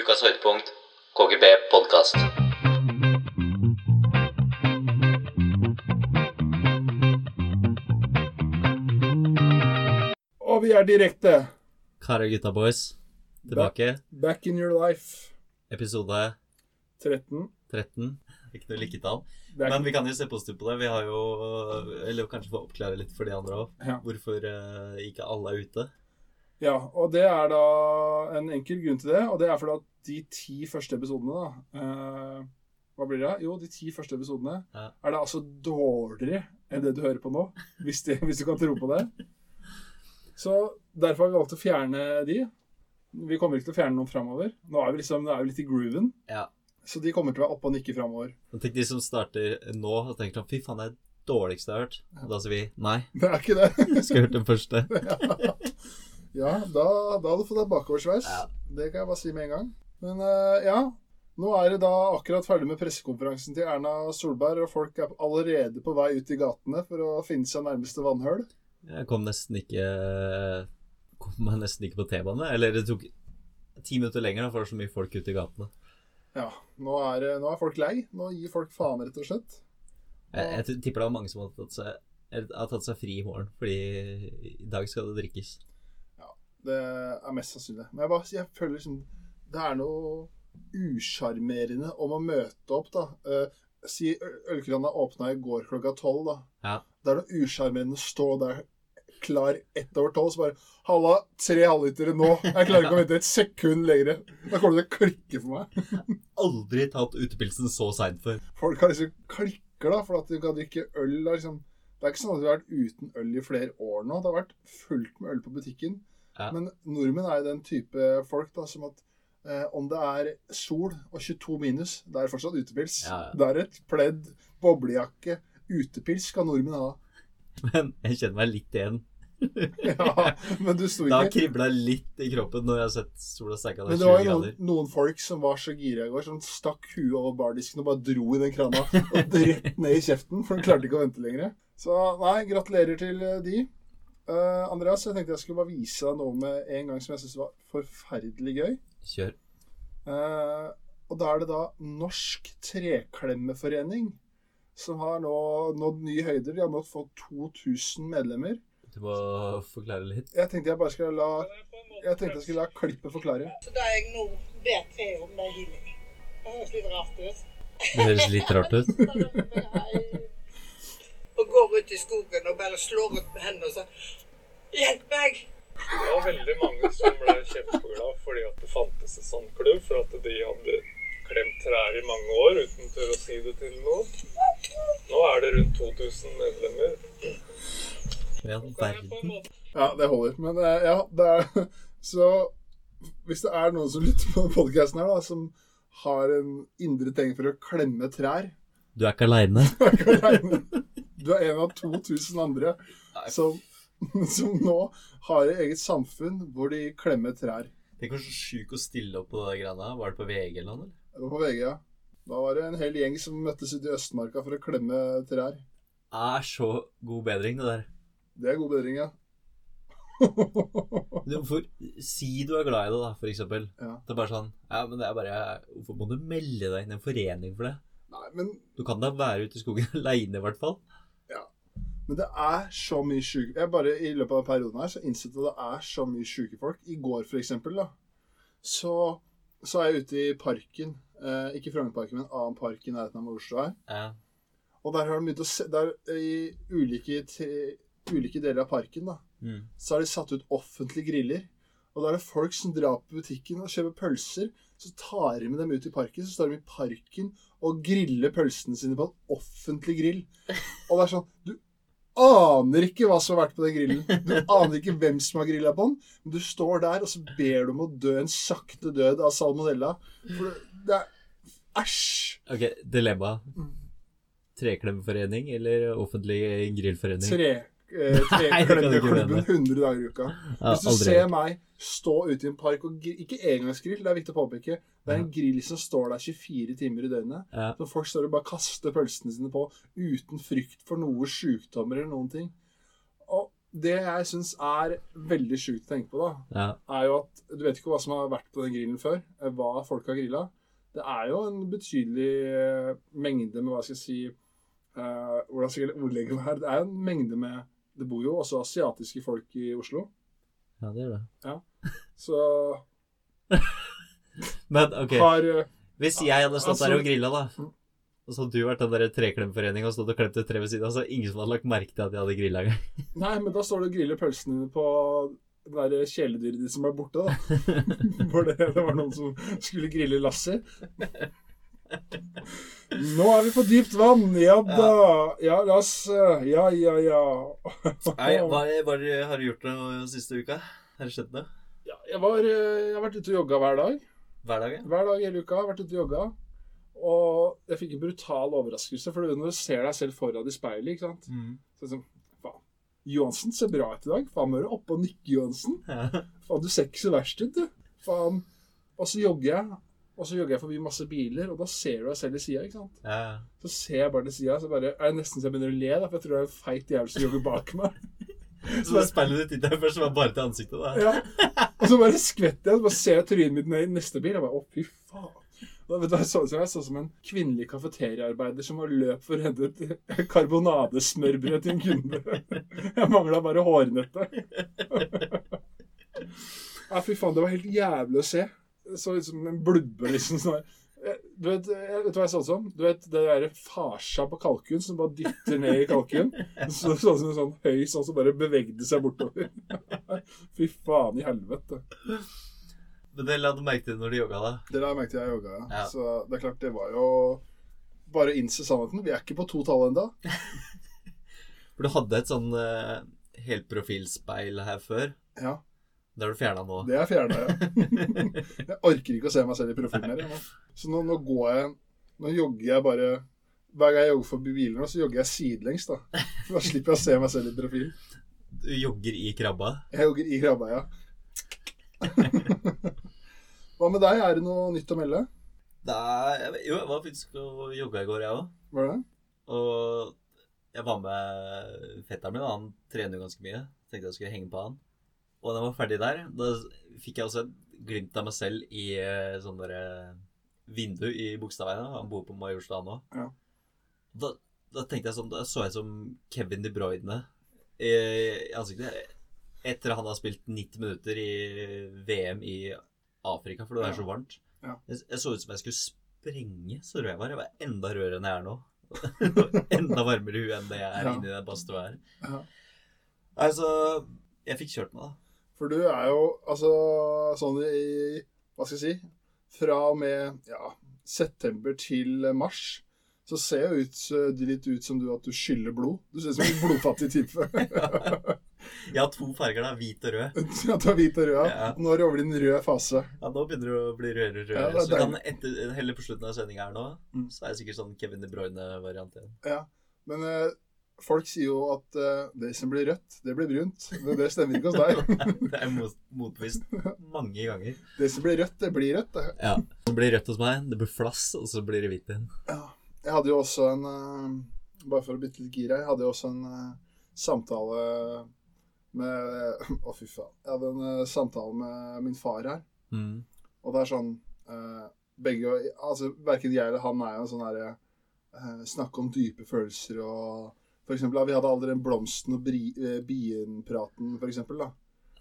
Ukas høydepunkt KGB podkast. Og vi er direkte. Kara og gutta boys, tilbake. Back in your life. Episode 13. 13. Ikke noe lykketall. Det er Men vi kan jo se positivt på det. Vi har jo Eller kanskje få oppklare litt for de andre òg. Ja. Hvorfor eh, ikke alle er ute. Ja, og det er da en enkel grunn til det, og det er fordi at de ti første episodene, da eh, Hva blir det? Jo, de ti første episodene Ja. er da altså dårligere enn det du hører på nå, hvis, det, hvis du kan tro på det. Så derfor har vi valgt å fjerne de. Vi kommer ikke til å fjerne noen framover. Nå er vi liksom, nå er vi litt i grooven, Ja. så de kommer til å være oppe og nikke framover. Men tenk de som starter nå og tenker sånn Fy faen, det er det dårligste jeg har hørt. Og da sier vi nei. Det er ikke det. Du skal ha hørt den første. Ja, da, da hadde du fått deg bakoversveis. Ja. Det kan jeg bare si med en gang. Men eh, ja, nå er det da akkurat ferdig med pressekonferansen til Erna Solberg, og folk er allerede på vei ut i gatene for å finne seg nærmeste vannhøl. Jeg kom nesten ikke Kom meg nesten ikke på T-bane. Eller det tok ti minutter lenger, da, for det var så mye folk ute i gatene. Ja, nå er, det- nå er folk lei. Nå gir folk faen, rett og slett. Jeg, jeg tipper det var mange som har tatt seg, har tatt seg fri i morgen, fordi i dag skal det drikkes. Det er mest sannsynlig. Men jeg, bare, jeg føler liksom Det er noe usjarmerende om å møte opp, da. Eh, si øl- ølkrana åpna i går klokka tolv, da. Ja. Det er noe usjarmerende å stå der klar ett over tolv, så bare Halla, tre halvlitere nå. Jeg klarer ikke å vente et sekund lenger. Da kommer det til å klikke for meg. aldri tatt utepilsen så seint før. Folk har liksom klikker, da, for at de kan drikke øl. Da, liksom. Det er ikke sånn at vi har vært uten øl i flere år nå. Det har vært fullt med øl på butikken. Ja. Men nordmenn er jo den type folk da, som at eh, om det er sol og 22 minus, det er fortsatt utepils. Ja, ja. Det er et pledd, boblejakke, utepils skal nordmenn ha. Men jeg kjenner meg litt igjen. Ja, men du sto Det har ikke kribla litt i kroppen når jeg har sett sola steike av Men deg det var 20 jo noen, grader. noen folk som var så gira i går, som stakk huet over bardisken og bare dro i den krana og rett ned i kjeften, for de klarte ikke å vente lenger. Så nei, gratulerer til eh, de. Eh, Andreas, jeg tenkte jeg skulle bare vise deg noe med en gang som jeg syntes var forferdelig gøy. Kjør. Eh, og da er det da Norsk Treklemmeforening som har nå nådd nye høyder. De har nå fått 2000 medlemmer. Du må forklare litt. Jeg tenkte jeg bare skulle la, jeg tenkte jeg skulle la klippet forklare. Så da jeg nå ber te om det healing. Det høres litt rart ut. Det høres litt rart ut. Og går ut i skogen og bare slår ut med hendene og sier Hjelp meg! Det var veldig mange som ble kjempeglad fordi at det fantes en sånn klubb, for at de hadde klemt trær i mange år uten å tørre å si det til noen. Nå er det rundt 2000 medlemmer. I all verden. Ja, det holder. Men eh, ja, det er Så hvis det er noen som lytter på podkasten her, da, som har en indre tegn for å klemme trær Du er ikke aleine. Du er ikke alene. Du er en av 2000 andre som, som nå har et eget samfunn hvor de klemmer trær. Tenk hvor så sjuk å stille opp på det greiene her. Var det på VG eller noe? Det var på VG, ja. Da var det en hel gjeng som møttes ute i Østmarka for å klemme trær. Er så god bedring, det der. Det er god bedring, ja. Du, hvorfor, si du er glad i det, da, for eksempel. ja. Det er bare sånn Ja, men det er bare Hvorfor må du melde deg inn i en forening for det? Nei, men, Du kan da være ute i skogen aleine, i hvert fall. men det er så mye sjuke Jeg bare i løpet av den perioden her så innså jeg at det er så mye sjuke folk. I går, for eksempel, da, så, så er jeg ute i parken. Eh, ikke Frognerparken, men en annen park i nærheten av hvor Oslo her. Ja. Og der har de begynt å se der, eh, I ulike, te, ulike deler av parken, da, Mm. så har de satt ut offentlige griller. Og da er det folk som drar på butikken og kjøper pølser. Så tar de med dem ut i parken, så står de i parken og griller pølsene sine på en offentlig grill. Og det er sånn Du aner ikke hva som har vært på den grillen. Du aner ikke hvem som har grilla på den. Men du står der, og så ber du om å dø en sakte død av salmonella. For det, det er Æsj! Ok, dilemma. Mm. Treklemmeforening eller offentlig grillforening? Tre, eh, Nei, det kan du ikke Treklemmeklubben mene. 100 dager i uka. Ja, Hvis du aldri. ser meg stå ute i en park og gri- Ikke engangsgrill, det er viktig å påpeke. Det er en grill som står der 24 timer i døgnet. Ja. Som folk står og bare kaster pølsene sine på uten frykt for noe sykdommer eller noen ting. Og Det jeg syns er veldig sjukt å tenke på, da, Ja. er jo at du vet ikke hva som har vært på den grillen før. eh, Hva folk har grilla. Det er jo en betydelig eh, mengde med hva skal jeg si eh, Hvordan skal jeg ordlegge meg her? Det er jo en mengde med Det bor jo også asiatiske folk i Oslo, ja, det gjør det. så Men ok, har eh, hvis jeg hadde stått der Altså- og grilla, da og så hadde du vært den der treklemforeningen og stått og klemt et tre ved siden av, så er det ingen som hadde lagt merke til at jeg hadde grilla engang. Nei, men da står det og griller pølsene dine på det der kjæledyret ditt som ble borte, da. For det, det var noen som skulle grille Lassie. Nå er vi på dypt vann! Ja da! Ja, la oss eh, Ja, ja, ja. Nei, hva, hva har du gjort den siste uka? Har det skjedd noe? Ja, Jeg, var, eh, jeg har vært ute og jogga hver dag. Hver dag, ja? Hver dag hele uka. har jeg Vært ute og jogga. Og jeg fikk en brutal overraskelse. For når du ser deg selv foran i speilet, ikke sant Mm. Så er det sånn, faen, Johansen ser bra ut i dag. Faen, nå er du oppe og nikker, Johansen. Ja. Faen, du ser ikke så verst ut, du. Faen. Og så jogger jeg, og så jogger jeg forbi masse biler, og da ser du deg selv i sida, ikke sant. ja. Så ser jeg bare til sida, så bare er det nesten så jeg begynner å le, da, for jeg tror det er en feit jævel som jogger bak meg. Så det speilet ditt der først var bare til ansiktet, da? Ja. Og så bare skvetter jeg, og så bare ser jeg trynet mitt ned i neste bil, og bare å, fy faen. Da, vet du, hva jeg så ut som jeg så ut som en kvinnelig kafeteriaarbeider som var løp for å hente et karbonadesmørbrød til en kunde. Jeg mangla bare hårnettet. Nei, fy faen, det var helt jævlig å se. Det så ut som en blubbe, liksom. sånn her. Jeg- Du vet, jeg- vet du hva jeg så ut som? Du vet det derre farsa på kalkun som bare dytter ned i kalkun? Så så ut som en sånn høy sånn som bare bevegde seg bortover. Fy faen i helvete. Men det la du merke til når du jogga, da? Det der merket jeg jogga, ja. Ja. Så det er klart, det var jo bare å innse sannheten. Vi er ikke på to tall ennå. For du hadde et sånn uh, helprofilspeil her før. Ja, Det har du fjerna nå. det er fjerna, ja. jeg orker ikke å se meg selv i profilen mer. jeg nå. Så nå, nå går jeg Nå jogger jeg bare Hver gang jeg jogger forbi bilene, så jogger jeg sidelengs, da. For da slipper jeg å se meg selv i profilen. Du jogger i krabba. Jeg jogger i krabba, ja. Hva med deg? Er det noe nytt å melde? Da, jeg, vet- jo, jeg var faktisk og jogga i går, jeg òg. Var det det? Og jeg var med fetteren min, og han trener jo ganske mye. Tenkte jeg skulle henge på han. Og da jeg var ferdig der, da fikk jeg også et glimt av meg selv i eh, sånn derre vindu i Bogstadveien. da. Han bor på Majorstua nå. Ja. Da, da tenkte jeg sånn, da så jeg som Kevin De Bruyne eh, i ansiktet. Etter han har spilt 90 minutter i VM i Afrika, for det er så varmt. Ja. Jeg, jeg så ut som jeg skulle sprenge så rød jeg var. Jeg var enda rødere enn jeg er nå. Og enda varmere i huet enn det jeg er Ja. inni den badstua her. Ja. Altså, jeg fikk kjørt meg, da. For du er jo altså sånn i Hva skal jeg si Fra og med ja, september til mars så ser jo ut, eh, det litt ut som du at du skyller blod. Du ser ut som en blodfattig type. Jeg har to farger, da. Hvit og rød. at du er hvit og rød. Ja. Og Nå er du over i den røde fase. Ja, Nå begynner du å bli rødere Ja, og det rødere. er så kan etter, heller på slutten av sendinga her nå, Mm. så er jeg sikkert sånn Kevin De Bruyne-variant igjen. Men eh, folk sier jo at eh, det som blir rødt, det blir brunt. Men det stemmer ikke hos deg. Det er mot, motvist mange ganger. Det som blir rødt, det blir rødt. det. Ja. Det blir rødt hos meg, det blir flass, og så blir det hvitt igjen. Jeg hadde jo også en eh, Bare for å bytte litt gir her, jeg hadde jo også en eh, samtale med Å, fy faen. Jeg hadde en eh, samtale med min far her, Mm. og det er sånn eh, Begge Altså, verken jeg eller han er jo en sånn herre eh, Snakke om dype følelser og For eksempel, da, vi hadde aldri den blomsten og bri- eh, bien-praten, for eksempel, da.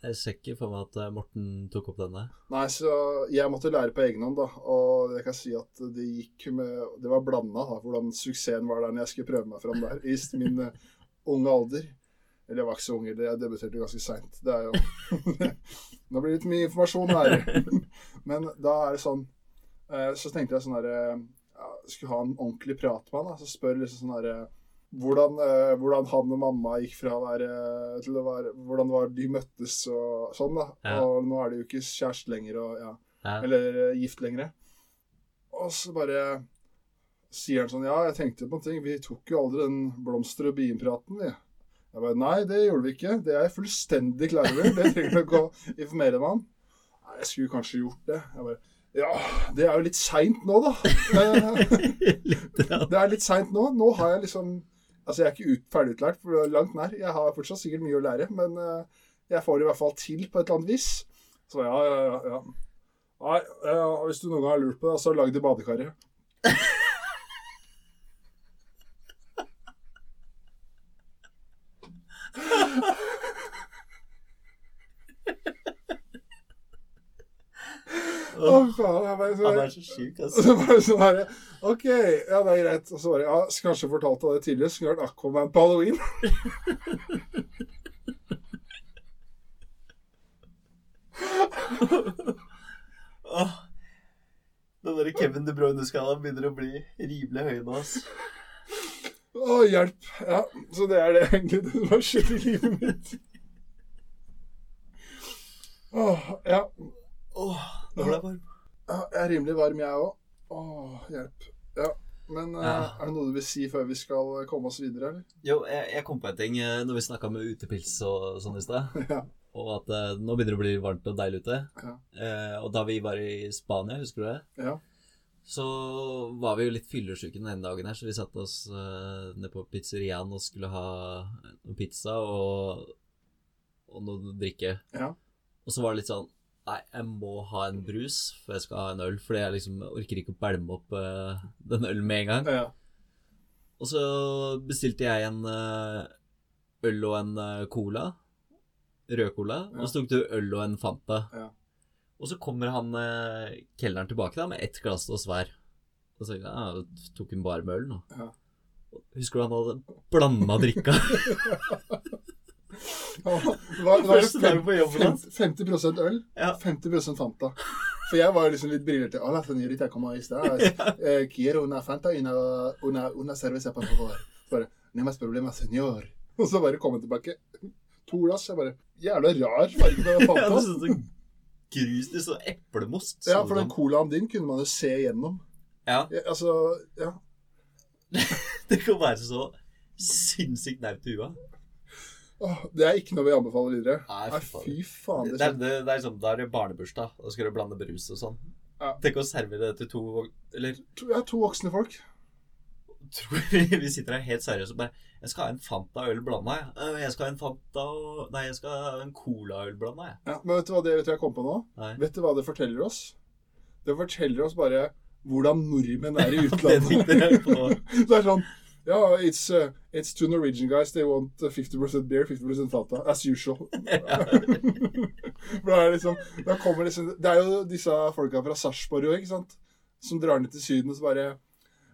Jeg ser ikke for meg at eh, Morten tok opp denne. Nei, så jeg måtte lære på egen hånd, da. Og jeg kan si at det gikk med Det var blanda, da, hvordan suksessen var der når jeg skulle prøve meg fram der. I min eh, unge alder. Eller jeg var ikke så ung, eller jeg debuterte ganske seint. Det er jo Nå blir det litt mye informasjon her. Men da er det sånn eh, Så tenkte jeg sånn herre ja, Skulle ha en ordentlig prat med han, da. Så spør liksom sånn herre hvordan, eh, hvordan han og mamma gikk fra å være eh, til å være Hvordan det var de møttes og sånn, da. Ja. Og nå er de jo ikke kjæreste lenger, og ja Ja. eller eh, gift lenger. Og så bare sier han sånn Ja, jeg tenkte på en ting. Vi tok jo aldri den blomster- og bienpraten, vi. Jeg bare Nei, det gjorde vi ikke. Det er jeg fullstendig klar over. Det trenger du ikke å informere meg om. Nei, jeg skulle kanskje gjort det. Jeg bare Ja, det er jo litt seint nå, da. Eh, Litt, ja. Det er litt seint nå. Nå har jeg liksom Altså, jeg er ikke ut, ferdigutlært, for det er langt nær. Jeg har fortsatt sikkert mye å lære, men eh, jeg får det i hvert fall til på et eller annet vis. Så ja, ja, ja. ja. Nei, eh, hvis du noen gang har lurt på det, så lag det badekaret. Å, Åh, faen. Jeg bare, Han er så sjuk, Og altså. så bare sånn her, OK, ja, det er greit. Og så bare Ja, skulle kanskje fortalt deg det tidligere. Skulle vært Aquaman på halloween. Åh. Den der Kevin De Bruyne-skalaen begynner å bli rimelig høy nå, altså. ass. Å, hjelp. Ja, så det er det egentlig det som har skjedd i livet mitt. Åh, ja. Åh, nå ble jeg varm. ja. Jeg er rimelig varm, jeg òg. Åh, hjelp. Ja. Men eh, Ja. er det noe du vil si før vi skal komme oss videre, eller? Jo, jeg, jeg kom på en ting eh, når vi snakka med utepils og sånn i stad. Ja. Og at eh, nå begynner det å bli varmt og deilig ute. Ja. Eh, og da vi var i Spania, husker du det? Ja. Så var vi jo litt fyllesyke den ene dagen her, så vi satte oss eh, ned på pizzeriaen og skulle ha noen pizza og, og noe å drikke. Ja. Og så var det litt sånn Nei, jeg må ha en brus før jeg skal ha en øl, fordi jeg liksom orker ikke å bælme opp eh, den ølen med en gang. ja. Og så bestilte jeg en eh, øl og en eh, cola. Rød cola. Ja. Og så tok du øl og en Fanta. Ja. Og så kommer han eh, kelneren tilbake da med ett glass til oss hver. Og så tenkte jeg ja, tok hun bare med øl nå. Ja. Og Husker du han hadde blanda drikka? Åh, Hva, hva er det Første dag på jobben hans. 50, 50 øl, Ja. 50 Fanta. For jeg var liksom litt brillert. Hola, señorita, ¿cómo estás? Eh, quiero una Fanta y una, una, una cerveza, por favor. Bare, no más problema, señor. Og så bare kom han tilbake. To glass. Jeg bare Jævla rar farge på den Ja, det Fanta. så sånn grus til sånn eplemost. Ja, så for den sånn. colaen din kunne man jo se igjennom. ja, Ja, altså, ja. det kan være så sinnssykt naut i huet. Åh, det er ikke noe vi anbefaler videre. Nei, Nei, fy fy faen. Det Det er, det, det er sånn, Da er det barnebursdag, da skal du blande brus og sånn. Ja. Tenk å servere det til to vok- Eller er ja, to voksne folk. tror vi vi sitter her helt seriøst og bare 'Jeg skal ha en Fanta-øl blanda, jeg.' «Øh, 'Jeg skal ha en Fanta og Nei, jeg skal ha en Cola-øl blanda, jeg.' Ja, men vet du hva det vet du hva jeg kom på nå? Nei. Vet du hva det forteller oss? Det forteller oss bare hvordan nordmenn er i Det tenkte jeg utlandet. på. Så det er sånn Ja, it's, uh, it's two Norwegian guys. They want uh, 50 beer, 50 Fanta. As usual. For da er liksom, da kommer liksom Det er jo disse folka fra Sarpsborg òg, ikke sant? Som drar ned til Syden og så bare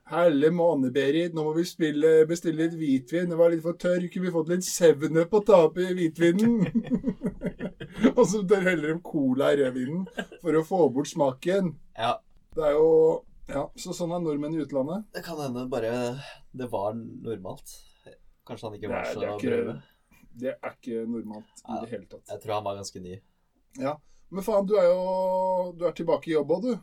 Helle måne, Berit. Nå må vi spille, bestille litt hvitvin. Det var litt for tørr. Kunne vi fått litt sevne på tapet i hvitvinen? og så dør heller de cola i rødvinen for å få bort smaken. Ja, Det er jo Ja, så sånn er nordmenn i utlandet. det kan hende bare det var normalt. Kanskje han ikke var Nei, så det er ikke- brød. Det er ikke normalt i det hele tatt. Jeg tror han var ganske ny. Men faen, du er jo Du er tilbake i jobb òg, du.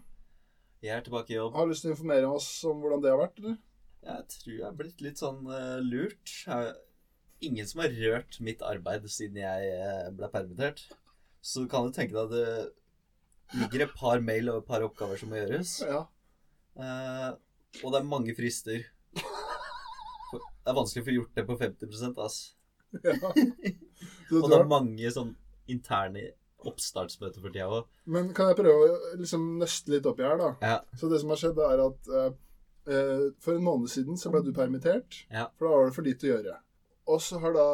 Jeg er tilbake i jobb. Har du lyst til å informere oss om hvordan det har vært, eller? Jeg tror jeg er blitt litt sånn eh, lurt. Jeg- ingen som har rørt mitt arbeid siden jeg eh, ble permittert. Så kan du tenke deg at det ligger et par mail og et par oppgaver som må gjøres. Ja. Eh, og det er mange frister. Det er vanskelig å få gjort det på 50 ass. ja. Så Og du det har, er mange sånn interne oppstartsmøter for tida òg. men kan jeg prøve å liksom nøste litt oppi her, da? Ja. Så det som har skjedd, er at eh, eh, for en måned siden så ble du permittert. Ja. For da var det for lite å gjøre. Og så har da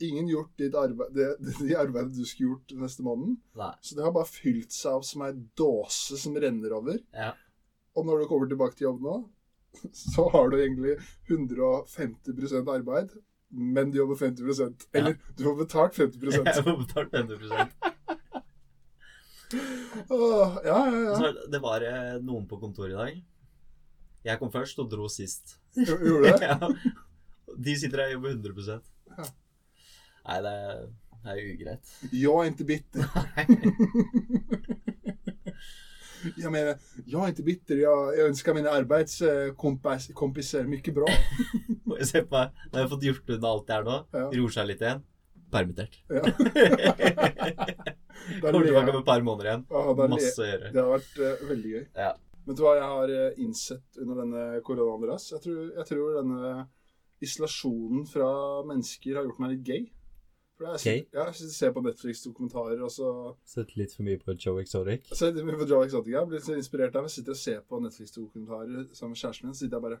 ingen gjort ditt arbeid, det, det, det arbeidet du skulle gjort neste måned. Nei. Så det har bare fylt seg av som ei dåse som renner over. Ja. Og når du kommer tilbake til jobb nå, så har du egentlig 150 arbeid, men du jobber 50 Eller du får betalt 50 Jeg får betalt 50 Åh, Ja, ja, Så ja. var det- det var eh, noen på kontoret i dag. Jeg kom først og dro sist. Gjorde det? Ja. De sitter her og jobber 100 Ja. Nei, det er, det er ugreit. Jeg er ikke bitter. Nei. Jeg mener, jeg er ikke bitter. Jeg, jeg ønsker mine arbeidskompiser mye bra. Må jeg se på meg. Nå har jeg fått gjort unna alt det her nå. Ja. Roer seg litt igjen. Permittert. Ja. Da Kommer ler tilbake om jeg. et par måneder igjen. Ja, da ler jeg. Masse å gjøre. Det har vært eh, veldig gøy. Ja. eh, Vet du hva jeg har eh, innsett under denne koronaen deres? Jeg tror, jeg tror denne isolasjonen fra mennesker har gjort meg litt gay. For jeg, sitter- ja, jeg sitter og ser på Netflix-dokumentarer, og så Sett litt for mye på Joe Exotic. så jeg driver med Joe Exotica. Jeg blir så inspirert av jeg sitter og ser på Netflix-dokumentarer sammen med kjæresten min. Så sitter jeg bare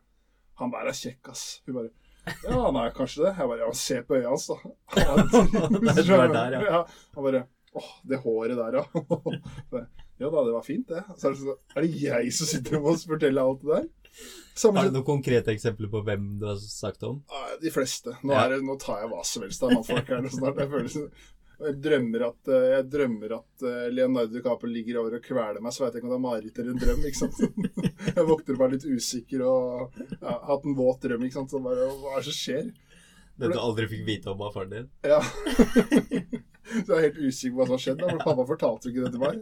Han der er kjekk, ass. Hun bare Ja, han er kanskje det. Jeg bare Ja, se på øya hans, da. Det er svært der, ja. Han bare Åh, det håret der, ja. Bare, ja da, det var fint, det. Så er det, sånn, er det jeg som sitter og må fortelle alt det der? Samme Har skje- du noen konkrete eksempler på hvem du har sagt om? Nei, De fleste. Nå, Ja. er det, nå tar jeg hva som helst av mannfolk her nå snart. Jeg, føler, som- og jeg drømmer at, eh, jeg drømmer at eh, Leonardo DiCaprio ligger over og kveler meg, så veit jeg ikke om det er mareritt eller en drøm. ikke sant? Jeg våkner meg litt usikker og ja, hatt en våt drøm. ikke sant? Så bare, Hva er det som skjer? Det du aldri fikk vite om av faren din? Ja. Så jeg er helt usikker på hva som har skjedd, da, for pappa fortalte jo ikke det til meg.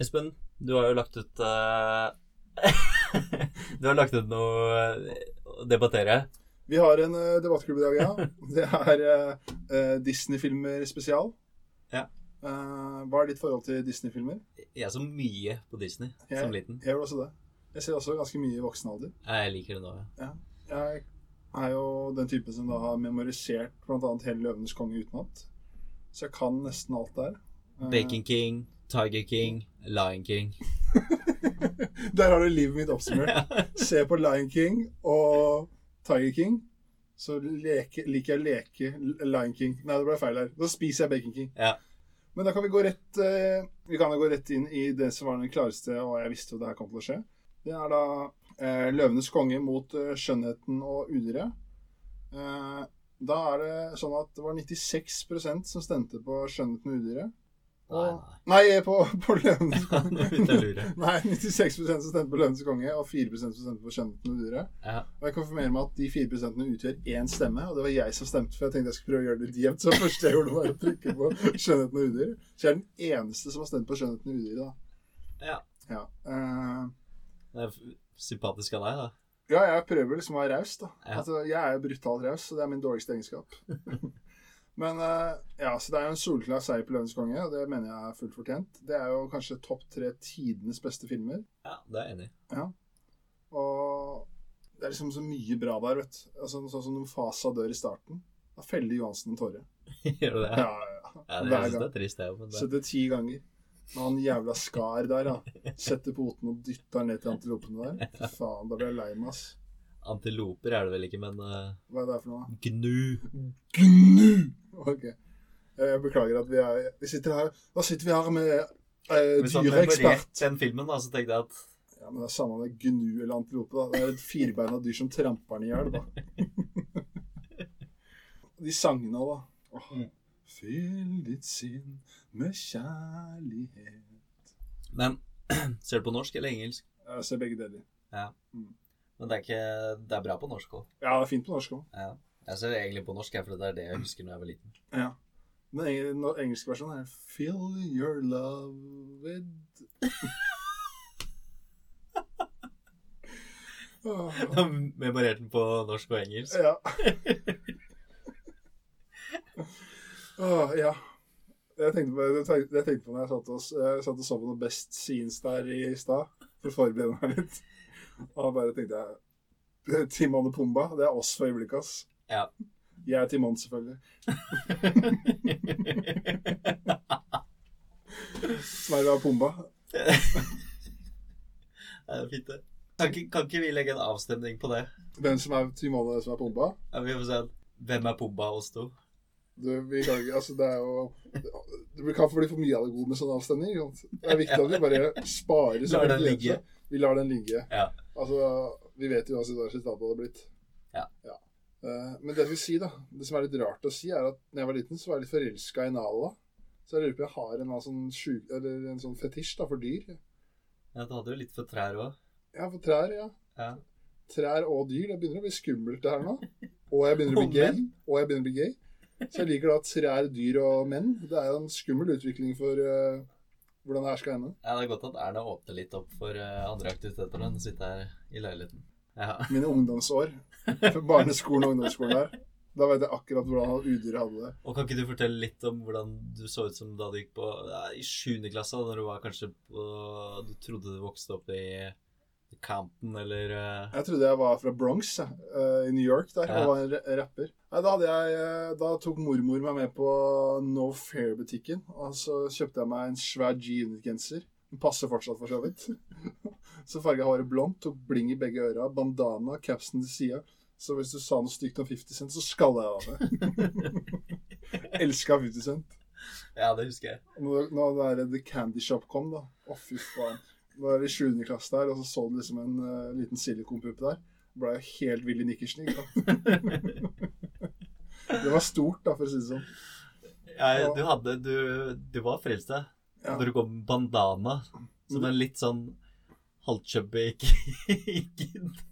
Espen, du har jo lagt ut eh, Du har lagt ut noe eh, å debattere. Vi har en eh, debattklubb i dag, ja. Det er eh, eh, Disney-filmer spesial. Ja. Eh, hva er ditt forhold til Disney-filmer? Jeg så mye på Disney Ja. som liten. Jeg gjør også det. Jeg ser også ganske mye i voksen alder. Jeg liker det nå. ja. Jeg er jo den typen som da har memorisert bl.a. hele 'Løvenes konge' utenat. Så jeg kan nesten alt der. Eh, Bacon King, Tiger King, Lion King. der har du livet mitt oppsummert. Se på Lion King og Tiger King. Så leke, liker jeg å leke L- Lion King. Nei, det ble feil her. Da spiser jeg Bacon King. Ja. Men da kan vi gå rett eh, Vi kan jo gå rett inn i det som var den klareste, og jeg visste jo det her kom til å skje. Det er da eh, 'Løvenes konge' mot eh, 'Skjønnheten og udyret'. Eh, da er det sånn at det var 96 som stemte på 'Skjønnheten og udyret'. Nei, Og- nei. Nei, på, på 'Løvenes Nå konge'. begynte jeg å lure. Nei, 96 som stemte på Løvenes konge, og 4 som stemte på Skjønnheten og udyret. Ja. Og jeg konfirmerer meg at de 4 utgjør én stemme, og det var jeg som stemte, for jeg tenkte jeg skulle prøve å gjøre det litt jevnt. Så det første jeg gjorde, var å trykke på Skjønnheten og udyret. Så jeg er den eneste som har stemt på Skjønnheten og udyret, da. Ja. Ja, eh, Det er f- sympatisk av deg, da. ja, jeg prøver liksom å være raus, da. Ja. Altså, jeg er jo brutalt raus, så det er min dårligste egenskap. Men eh, ja, så det er jo en solklar seier på Løvenes konge, og det mener jeg er fullt fortjent. Det er jo kanskje topp tre tidenes beste filmer. Ja, det er jeg enig i. Og det er liksom så mye bra der, vet du. Altså, sånn som når Fasa dør i starten. Da feller Johansen en tåre. Gjør du det? Ja, ja, Ja, ja. det, jeg Hver synes det gang. er trist, det òg, men det Setter ti ganger. Med han jævla Skar der, da. Setter poten og dytter den ned til antilopene der. Fy faen, da blir jeg lei meg, ass. Antiloper er det vel ikke, men eh, Hva er det her for noe? gnu. Gnu! Ok. Eh, Jeg beklager at vi er Vi sitter her Da sitter vi her med eh, Hvis han dyreekspert. memorerte den filmen, da, så tenkte jeg at Ja, men det er samme om det er gnu eller antilope. Da. Det er et firbeina dyr som tramper den i hjel, da. De sangene òg, da. Åh. Mm. Fyll ditt sinn med kjærlighet Men ser du på norsk eller engelsk? Jeg ser begge deler. Men det er, ikke, det er bra på norsk òg. Ja, det er fint på norsk òg. Ja. Jeg ser egentlig på norsk, jeg, for det er det jeg husker da jeg var liten. Ja. Den eng- den engelske versjonen er Fill your love with Åh. Jeg Memorerte den på norsk og engelsk. Ja. Åh, ja. Jeg tenkte, på, jeg, tenkte, jeg tenkte på når jeg satt og, s- jeg satt og så på noen best scenes der i stad, for å forberede meg litt. Og bare tenkte jeg Timon og Pumba, det er oss for øyeblikket, ass. Ja. Jeg er Timon, selvfølgelig. Sverre er Pumba. Det er fint, det. Kan ikke, kan ikke vi legge en avstemning på det? Hvem som er Timon og hvem som er Pumba? Ja, Vi får se Hvem er Pumba oss to? Du, vi kan ikke, altså det er jo Det kan bli for mye av det gode med sånn avstemning. ikke sant? Det er viktig at vi bare sparer så Lar den mye ledelse. ligge. Vi lar den ligge. Ja. Altså, vi vet jo uansett hva resultatet hadde blitt. Ja. Eh, Men det jeg skal si da, det som er litt rart å si, er at når jeg var liten, så var jeg litt forelska i Nala. Så jeg lurer på om jeg har en, eller annen sånn, sjuk, eller en sånn fetisj da, for dyr. Ja, Du hadde jo litt for trær òg. Ja, for trær, ja. Ja. Trær og dyr. Det begynner å bli skummelt, det her nå. Og jeg begynner å Og bli gay. menn. Og jeg begynner å bli gay. Så jeg liker da trær, dyr og menn. Det er jo en skummel utvikling for eh, hvordan det her skal ende. Ja, Det er godt at Erna åpner litt opp for eh, andre aktiviteter enn å sitte her i leiligheten. Ja. Mine ungdomsår. Barneskolen og ungdomsskolen der. Da vet jeg akkurat hvordan udyret hadde det. Og kan ikke du fortelle litt om hvordan du så ut som da du gikk på ja, i 7. klasse, da når du var kanskje på Du trodde du vokste opp i Campton, eller eh, Jeg trodde jeg var fra Bronx, jeg, eh, i New York, der, Ja. og var en ra- rapper. Nei, da, hadde jeg, eh, da tok mormor meg med på No Fair-butikken, og så kjøpte jeg meg en svær G-unit-genser. Den passer fortsatt, for så vidt. så farga håret blondt, tok bling i begge øra, bandana, capsen til sida. Så hvis du sa noe stygt om 50 Cent, så skalla jeg deg med. Elska 50 Cent. Ja, det husker jeg. Og Når, når det der The Candy Shop kom, da. Å, fy faen. Nå er det 7. klasse der, og så så du liksom en eh, liten silikonpupp der. Ble jeg helt Willy Nikkersen. Ikke? sant? det var stort, da, for å si det sånn. Ja, du hadde Du, du var frelst, da. Ja. Når du går med bandana, som en litt sånn halvchubby kid, og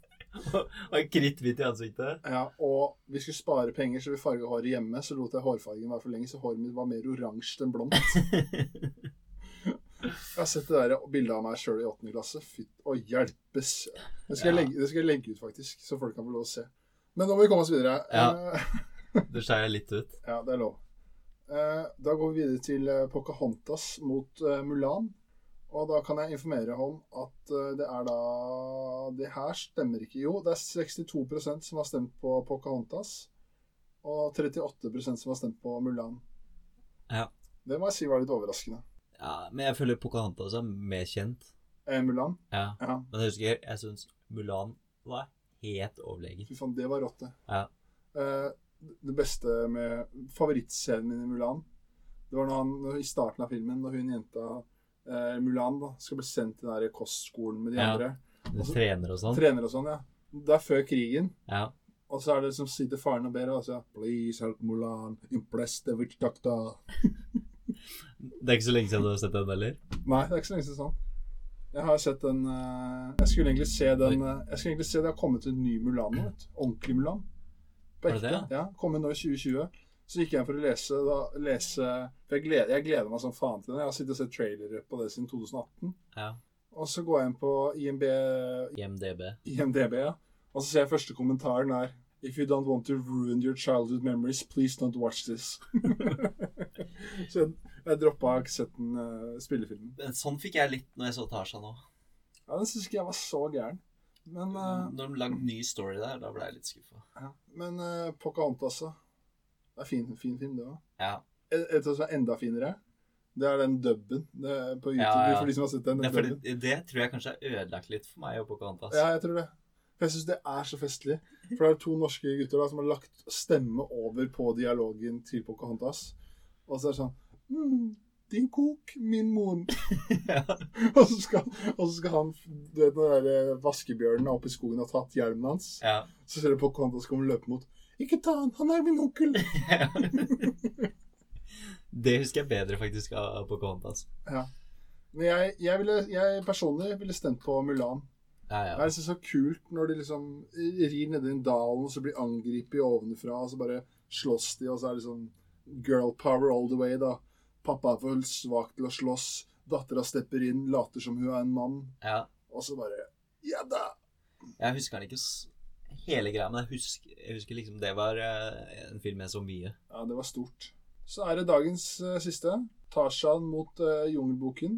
og en kritthvit i ansiktet. Ja, og vi skulle spare penger, så vi farga håret hjemme. Så lot jeg hårfargen være for lenge, så håret mitt var mer oransje enn blondt. Jeg har sett det der bildet av meg sjøl i 8. klasse. Fytt og hjelpes. Det skal, jeg Ja. legge, det skal jeg legge ut, faktisk, så folk kan få lov å se. Men nå må vi komme oss videre. Ja. Eh, Du skeier litt ut. Ja, det er lov. Eh, da går vi videre til eh, Pocahontas mot eh, Mulan. Og da kan jeg informere om at eh, det er da Det her stemmer ikke. Jo, det er 62 som har stemt på Pocahontas. Og 38 som har stemt på Mulan. Ja. Det må jeg si var litt overraskende. Ja, men jeg føler Pocahontas er mer kjent. Eh, Mulan? Ja. Ja. Men jeg husker jeg syns Mulan var helt overlegen. Fy faen, det var rått, det. Ja. Eh, det beste med Favorittscenen min i Mulan Det var når han, når, i starten av filmen, når hun jenta eh, Mulan da, skal bli sendt til den der kostskolen med de Ja. andre. Du trener og sånn. Trener og sånn, ja. Det er før krigen. Ja. Og så er det som sitter faren og ber og sier Please help Mulan, impress the witch doctor. Det er ikke så lenge siden du har sett den heller. Nei, det er ikke så lenge siden sånn. Jeg har sett den eh, Jeg skulle egentlig se den eh, Jeg skulle egentlig se det har kommet en ny Mulan nå, vet du. Ordentlig Mulan. På Er det ekte. det, Ja, kom nå i 2020. Så gikk jeg for å lese, da, lese For jeg gleder, jeg gleder meg som faen til den. Jeg har sittet og sett trailere på det siden 2018. Ja. Og så går jeg inn på IMB, IMDb. IMDb, ja. og så ser jeg første kommentaren der. If you don't want to ruin your childhood memories, please don't watch this. så jeg, jeg droppa ikke sett den eh, spillefilmen. Men sånn fikk jeg litt når jeg så Tarzan nå. Ja, den syns ikke jeg var så gæren. Men, eh, Når de lagde ny story der, da ble jeg litt skuffa. ja. men eh, Pocahontas, da. Det er fin, fin film, det òg. Ja. Et et som er enda finere, det er den dubben det er på YouTube. Ja, ja. For de som har sett den. Det, den er fordi, dubben. det tror jeg kanskje er ødelagt litt for meg og Pocahontas. Ja, jeg tror det. For jeg syns det er så festlig. For det er to norske gutter da, som har lagt stemme over på dialogen til Pocahontas. Og så er det sånn mm, Din kok, min mon. Ja. og, så skal, og så skal han Du vet når den der eh, vaskebjørnen er oppe i skogen og har tatt hjelmen hans? Ja. Så ser du på Kvantas komme løpe mot Ikke ta han, han er min onkel! Det husker jeg bedre faktisk av Pocahontas. Men jeg, jeg, ville, jeg personlig ville stemt på Mulan. Ja, Det ja. er liksom så kult når de liksom rir nedi en dalen, så blir angrepet ovenfra, og så bare slåss de, og så er det sånn girl power all the way, da. Pappa er for svak til å slåss, dattera stepper inn, later som hun er en mann, ja. og så bare Ja da! Jeg husker den ikke s- hele greia, men jeg husker, jeg husker liksom det var eh, en film jeg så mye. Ja, det var stort. Så er det dagens eh, siste. Tarzan mot eh, Jungelboken.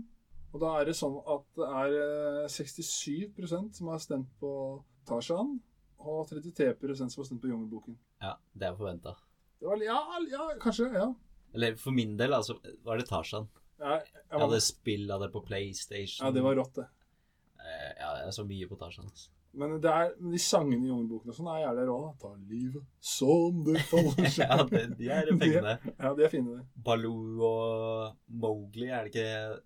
Og da er det sånn at det er eh, 67 som har stemt på Tarzan, og 33 som har stemt på Jungelboken. Ja, Det er forventa. Det var, ja, ja, kanskje. Ja. Eller for min del, altså, var det Tarzan. Jeg, jeg, Jeg var, hadde spill av det på PlayStation. ja, det var rått, det. Eh, Ja, jeg så mye på Tarzan. altså. Men det er, men de sangene i Jungelboken og sånn er jævlig rå. da. Ta livet som det faller Ja, det, de er pengene. Ja, de er fine, de. Baloo og Mowgli, er det ikke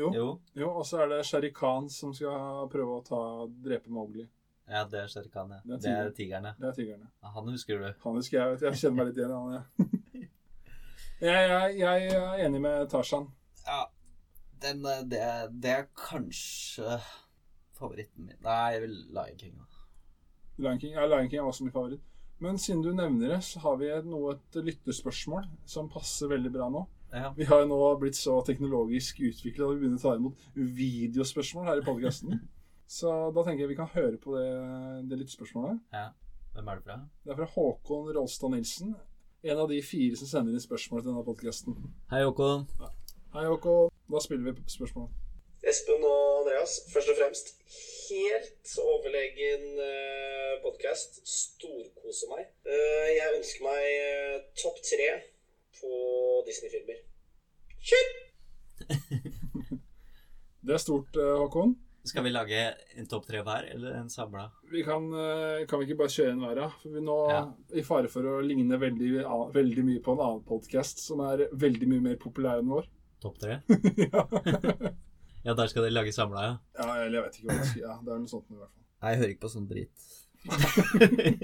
Jo, Jo. jo og så er det Sherry Khan som skal prøve å ta, drepe Mowgli. Ja, det er Shere Khan, ja. Det er Det er tigeren, ja. Det er tigrene. Han husker du. Han husker jeg, vet du. Jeg kjenner meg litt igjen i han, jeg. Jeg, jeg. jeg er enig med Tarzan. Ja. Den, eh, det, er- det er kanskje favoritten min. Nei, jeg vil Lion King. da. Lion King, ja, Lion King er også min favoritt. Men siden du nevner det, så har vi et, noe, et lyttespørsmål som passer veldig bra nå. Ja. Vi har jo nå blitt så teknologisk utvikla at vi begynner å ta imot videospørsmål her i podkasten. Så da tenker jeg vi kan høre på det, det lyttespørsmålet. Ja. Hvem er det fra? Det er fra Håkon Rolstad Nilsen. En av de fire som sender inn spørsmål til denne podkasten. Hei, Håkon. Hei, Håkon. Da spiller vi spørsmål. Espen og Andreas, først og fremst helt overlegen eh, podcast. Storkose meg. Eh, jeg ønsker meg eh, topp tre på Disney-filmer. Kjør! Det er stort, eh, Håkon. Skal vi lage en topp tre hver, eller en samla? Vi kan, eh, kan vi ikke bare kjøre en hver, da? For vi er nå Ja. i fare for å ligne veldig, a- veldig mye på en annen podkast som er veldig mye mer populær enn vår. Topp tre? ja. Ja, der skal dere lage samla, ja. ja, eller jeg vet ikke hva det skal ja, Det er noe sånt i hvert fall. Nei, jeg hører ikke på sånn drit.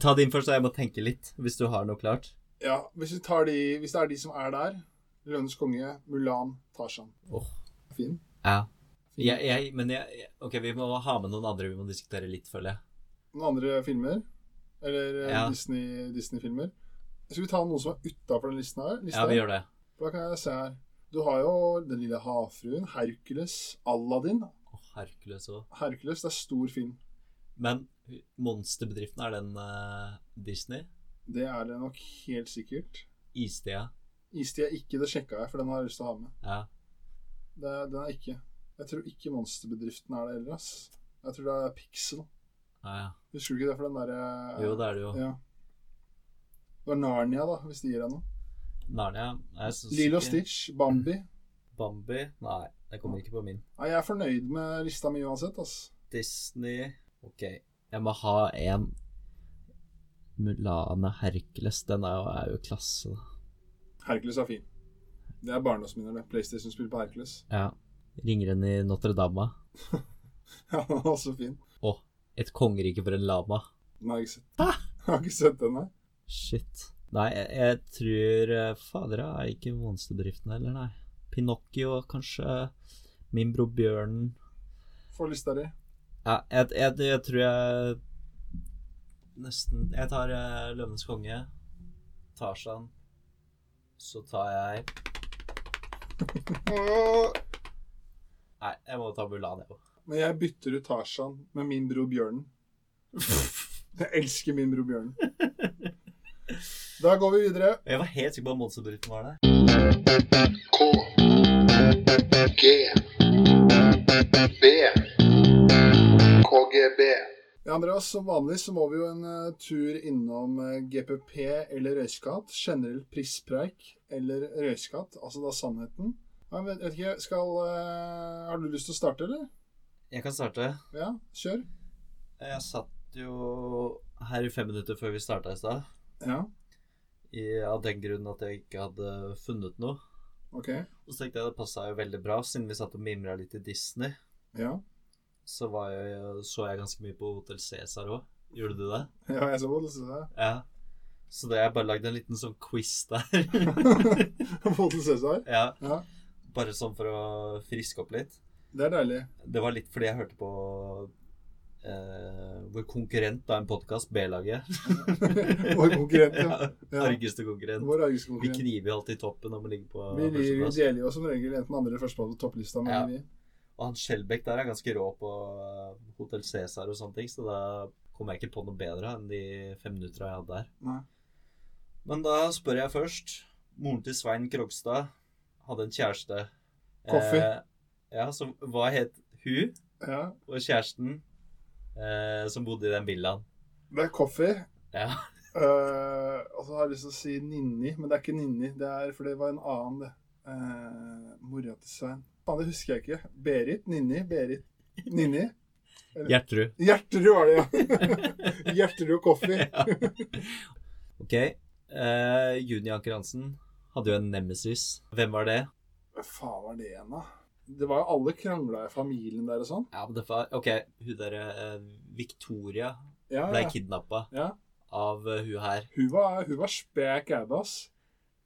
Ta din først, og jeg må tenke litt, hvis du har noe klart. Ja, hvis, vi tar de, hvis det er de som er der Lønnes konge, Mulan, Tarzan. Åh. Fin. Ja. Jeg, jeg, men jeg, jeg- ok, vi må ha med noen andre vi må diskutere litt, føler jeg. Noen andre filmer? Eller eh, Ja. Disney- Disney-filmer? Skal vi ta noen som er utafor den listen her? Lista? Ja, vi gjør det. Da kan jeg se her. Du har jo Den lille havfruen, Hercules, Aladdin. Å, Hercules også. Hercules, det er stor film. Men monsterbedriften, er den eh, Disney? Det er det nok helt sikkert. Istida? Istid er ikke, det sjekka jeg, for den har jeg lyst til å ha med. Ja. Det, den er ikke. Jeg tror ikke Monsterbedriften er det heller, ass. Jeg tror det er Pixel. Ja, ja. Husker du ikke det for den derre Jo, det er det jo. Ja. Det var Narnia, da, hvis det gir deg noe. Narnia? Nei, jeg synes Lilo ikke- Stitch, Bambi. Bambi? Nei, jeg kommer ikke på min. Nei, jeg er fornøyd med lista mi uansett, ass. Disney Ok, jeg må ha en Mulane Hercules. Den er jo, er jo klasse. da. Hercules er fin. Det er barndomsminner, det. PlayStation-spill på Hercules. Ja. Ringeren i Notre-Dame. Ja, den er også fin. Og Et kongerike for en lama. Den har jeg ikke sett. Jeg har ikke sett den, nei. Shit. Nei, jeg, jeg tror eh, Fader, jeg er ikke monsterdriften heller, nei. Pinocchio, kanskje. Min bror Bjørnen. Få lista di. Ja, jeg, jeg, jeg tror jeg Nesten Jeg tar uh, Løvenes konge, Tarzan, så tar jeg Nei, jeg må ta Mulan, jeg òg. Men jeg bytter ut Tarzan med min bror Bjørnen. Jeg elsker min bror Bjørnen. Da går vi videre. Jeg var helt sikker på at monsterbedriften var der. K G B KGB Ja, Andreas, som vanlig så må vi jo en eh, tur innom eh, GPP eller røyskatt. Generell prispreik eller røyskatt, altså da sannheten. Ja, Jeg vet, vet ikke, skal eh, Har du lyst til å starte, eller? Jeg kan starte. Ja, kjør. Jeg satt jo her i fem minutter før vi starta i stad, Ja, i- av den grunn at jeg ikke hadde funnet noe. OK. Og så tenkte jeg det passa jo veldig bra, siden vi satt og mimra litt i Disney. Ja, så var jeg, så jeg ganske mye på Hotel Cæsar òg. Gjorde du det? ja jeg så Bodelse der. Ja. Så det jeg bare lagde en liten sånn quiz der. Bodil Cæsar. ja. Ja. Bare sånn for å friske opp litt. Det er deilig. Det var litt fordi jeg hørte på eh, vår konkurrent av en podkast, B-laget. Vår konkurrent, ja. Ja. Argeste konkurrent. Vår Vi arguskonkurrent. kniver jo alltid i toppen om å ligge på Vi, vi, vi førsteplass. deler jo som regel enten andre eller førsteplass på topplista, men Ja. vi Og han Skjelbæk der er ganske rå på eh, Hotel Cæsar og sånne ting, så da kom jeg ikke på noe bedre enn de fem minuttene jeg hadde der. Nei. Men da spør jeg først. Moren til Svein Krogstad hadde en kjæreste. Koffi. Eh, ja, som Hva het hun Ja. og kjæresten eh, som bodde i den villaen? Det er Coffee. Ja. Eh, og så har jeg lyst til å si Ninni, men det er ikke Ninni. Det er, for det var en annen, det. Eh, mora til Svein. Faen, det husker jeg ikke. Berit? Ninni? Berit? Ninni? Gjertrud. Gjerterud var det, ja. Gjerterud Coffee. Ja. OK. Eh, Juni Anker Hansen hadde jo en nemesis. Hvem var det? Hva faen var det igjen, da? Det var jo alle krangla i familien der og sånn. Ja, men det var OK, hun derre eh, Victoria Ja, ble Ah, ja. kidnappa ja. av eh, hun her. Hun var, hun var spek æde, ass.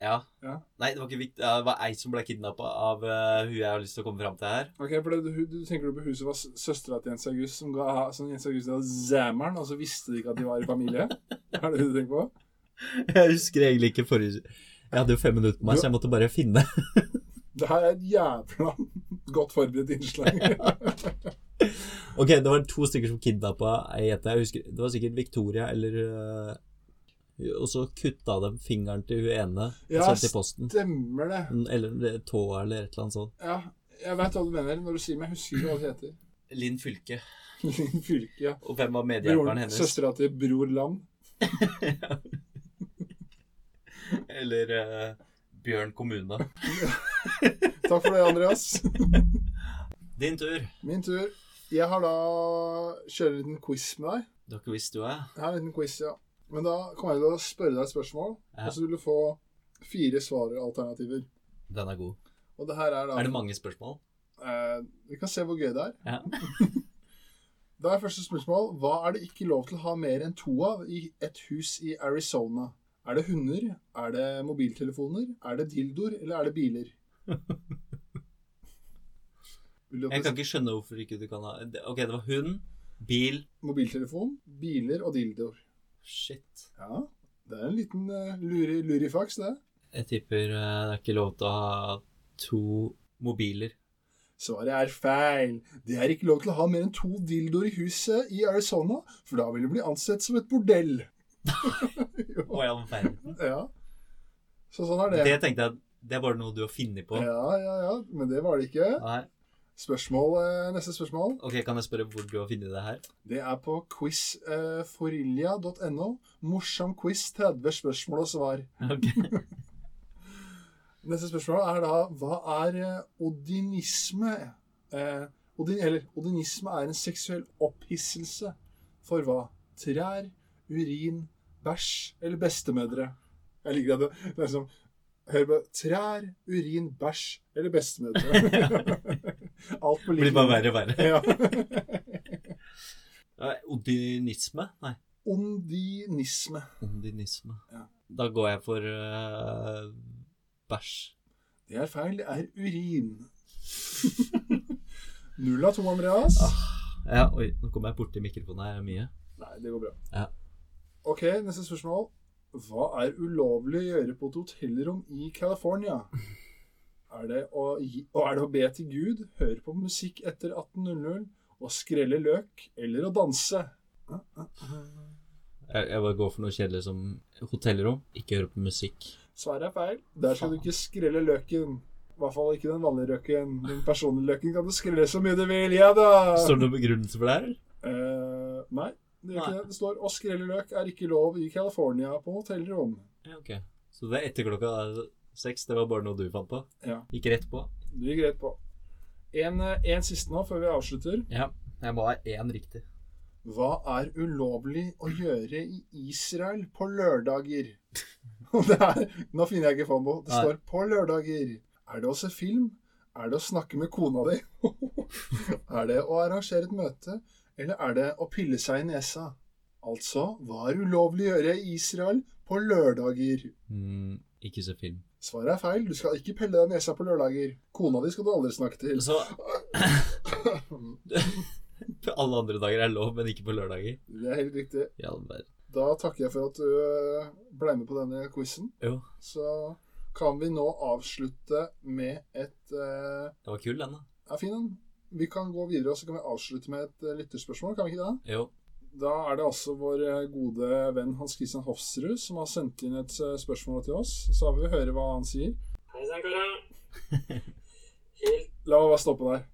Ja. Ja. Nei, det var ikke Vic- ja, det var ei som ble kidnappa av eh, hun jeg har lyst til å komme fram til her. Ok, for det, du, du tenker du på huset var s- søstera til Jens August, som, ga, som Jens August ga zammeren, og så visste de ikke at de var i familie? er det det du tenker på? Jeg husker egentlig ikke forrige Jeg hadde jo fem minutter på meg, så jeg måtte bare finne. Det her er et jævla godt forberedt innslag. Ok, det var to stykker som kidnappa ei jente. Jeg husker, det var sikkert Victoria eller øh, Og så kutta de fingeren til hun ene og Ja, sendte i posten. Stemmer det. Eller det- tåa eller et eller annet sånt. Ja, jeg veit hva du mener når du sier meg. Jeg husker ikke hva det heter. Linn Fylke. Linn Fylke, ja. Og hvem var medhjelperen Broren, hennes? søstera til Bror Lam. Eller øh, Bjørn kommune. Takk for det, Andreas. Din tur. Min tur. Jeg har da kjører en liten quiz med deg. Du har ikke visst du er? Jeg har en liten quiz, ja. Men da kommer jeg til å spørre deg et spørsmål, Ja. og så vil du få fire svaralternativer. Den er god. Og det her er da Er det mange spørsmål? Eh, vi kan se hvor gøy det er. Ja. Da er første spørsmål Hva er det ikke lov til å ha mer enn to av i et hus i Arizona? Er det hunder? Er det mobiltelefoner? Er det dildoer? Eller er det biler? Vil du ha Jeg kan ikke skjønne hvorfor ikke du kan ha det- Ok, det var hund, bil mobiltelefon, biler og dildoer? Shit. Ja, det er en liten eh, luri, lurifaks, det. Jeg tipper øh, det er ikke lov til å ha to mobiler. Svaret er feil. Det er ikke lov til å ha mer enn to dildoer i huset i Arizona, for da vil det bli ansett som et bordell. Å, i all verden. Ja. Så sånn er det. Det tenkte jeg det er bare noe du har funnet på. Ja, ja, ja. Men det var det ikke. Nei. Spørsmål, eh, neste spørsmål. Ok, Kan jeg spørre hvor du har funnet det her? Det er på eh, quizforilja.no. Morsom quiz, 30 spørsmål og svar. Ok. Neste spørsmål er da Hva er eh, odinisme? Eh, odin, eller odinisme er en seksuell opphisselse for hva? Trær, urin, bæsj eller bestemødre? Jeg liker at det det er som Hør på Trær, urin, bæsj eller bestemødre. Alt på Det blir like bare verre og verre. Ja. Eh, Odinisme? Nei. Ondinisme. Ondinisme. Ja. Da går jeg for eh, bæsj. Det er feil. Det er urin. Null av to, Andreas. Ja, oi, nå kom jeg borti mikrofonen her mye. Nei, det går bra. Ja. Ok, neste spørsmål. Hva er ulovlig å gjøre på et hotellrom i California? Er det å, gi, og er det å be til Gud, høre på musikk etter 18.00, å skrelle løk eller å danse? Jeg, jeg bare går for noe kjedelig som hotellrom. Ikke høre på musikk. Svaret er feil. Der skal du ikke skrelle løken. I hvert fall ikke den vanlige løken. Den personlige løken kan du skrelle så mye du vil. Ja da! Står det noen begrunnelse for det her? eller? Eh, nei, det gjør Nei. ikke det. Det står 'Å skrelle løk er ikke lov i California på hotellrom'. Ja, ok. Så det er etter klokka seks. Det var bare noe du fant på? Ja. Gikk rett på? Du gikk greit på. En, eh, en siste nå, før vi avslutter. Ja. Jeg må ha én riktig. Hva er ulovlig å gjøre i Israel på lørdager? Og det er, nå finner jeg ikke Fambo. Det Nei. står 'på lørdager'. Er det å se film? Er det å snakke med kona di? er det å arrangere et møte? Eller er det å pille seg i nesa? Altså, hva er ulovlig å gjøre i Israel på lørdager? Mm, ikke se film. Svaret er feil. Du skal ikke pelle deg nesa på lørdager. Kona di skal du aldri snakke til. Så alle andre dager er lov, men ikke på lørdager. Det er helt riktig. I all verden. Da takker jeg for at du øh, ble med på denne quizen. Jo, Så kan vi nå avslutte med et øh, det var kul, den, da. Ja, fin den. Vi kan gå videre, og så kan vi avslutte med et øh, lytterspørsmål, kan vi ikke det? Jo. Da er det altså vår øh, gode venn Hans Christian Hofsrud som har sendt inn et øh, spørsmål til oss. Så vi vil høre hva han sier. Hei sann, karer. Helt La meg bare stoppe der.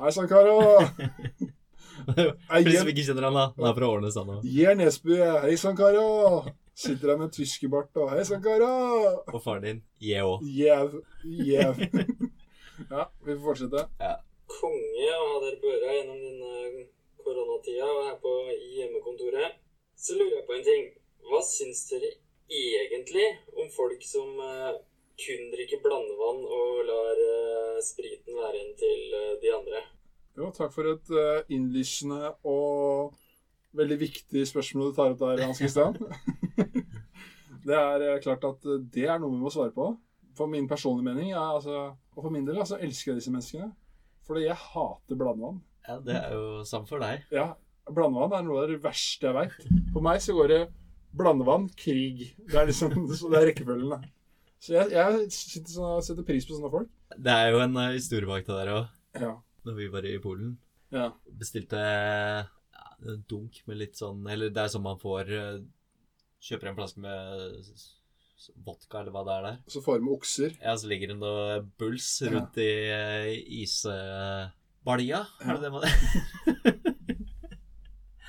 Hei sann, karer! For de som ikke kjenner han, da. Han er fra Årene Sand Gjer Nesbø, hei sann, karer! Sitter der med tyskerbart og hei sann, karer! og faren din. Jeg òg. Jev. Jev. ja, vi får fortsette. konge å ha dere på øra gjennom denne koronatida og her på hjemmekontoret. Så lurer jeg på en ting. Hva syns dere egentlig om folk som eh, kun drikker blandevann og lar eh, spriten være igjen til eh, de andre? Jo, takk for et eh, innlysende og veldig viktig spørsmål du tar opp der, Hans Christian. det er eh, klart at eh, det er noe vi må svare på. For min personlige mening, jeg, altså, og for min del, altså, elsker jeg disse menneskene. Fordi jeg hater blandevann. Ja, det er jo samme for deg. Ja, blandevann er noe av det verste jeg veit. For meg så går det blandevann, krig. Det er liksom så det er rekkefølgen, da. Så jeg, jeg sitter sånn, setter pris på sånne folk. Det er jo en eh, historie bak det der òg. Ja. Når vi var i Polen. Ja. Bestilte ja, en dunk med litt sånn Eller det er sånn man får eh, Kjøper en flaske med s- s- vodka, eller hva det er der. Så får vi med okser. Ja, så ligger det noe bulls rundt i eh, isbalja. Er det det man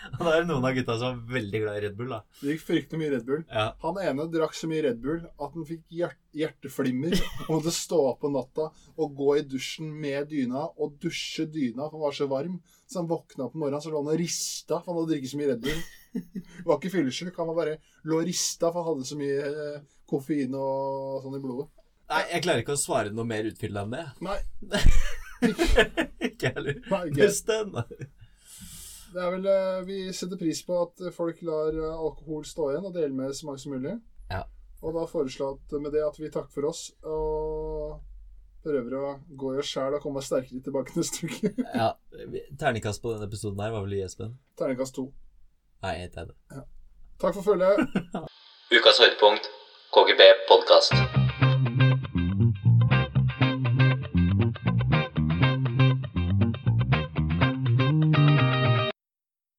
Og da er det noen av gutta som er veldig glad i Red Bull, da. Det gikk fryktelig mye Red Bull. Ja. Han ene drakk så mye Red Bull at han fikk hjert hjerteflimmer og måtte stå opp på natta og gå i dusjen med dyna og dusje dyna, for han var så varm. Så han våkna opp om morgenen så lå han og rista, for han hadde drukket så mye Red Bull. Han var ikke fyllesyk, han var bare lå og rista, for han hadde så mye eh, koffein og sånn i blodet. Nei, jeg klarer ikke å svare noe mer utfyllende enn det. Nei, Ikke heller. nei gøy. Pust den. Det er vel, eh, vi setter pris på at folk lar eh, alkohol stå igjen og deler med så mange som mulig. Ja. Og da foreslår jeg at med det at vi takker for oss og prøver å gå i oss sjæl og komme sterkere tilbake neste uke. Ja, Terningkast på denne episoden her var vel i Espen? Terningkast to. Nei, jeg tar det. Takk for følget. Ukas høydepunkt, KGB-podkast. Thank you.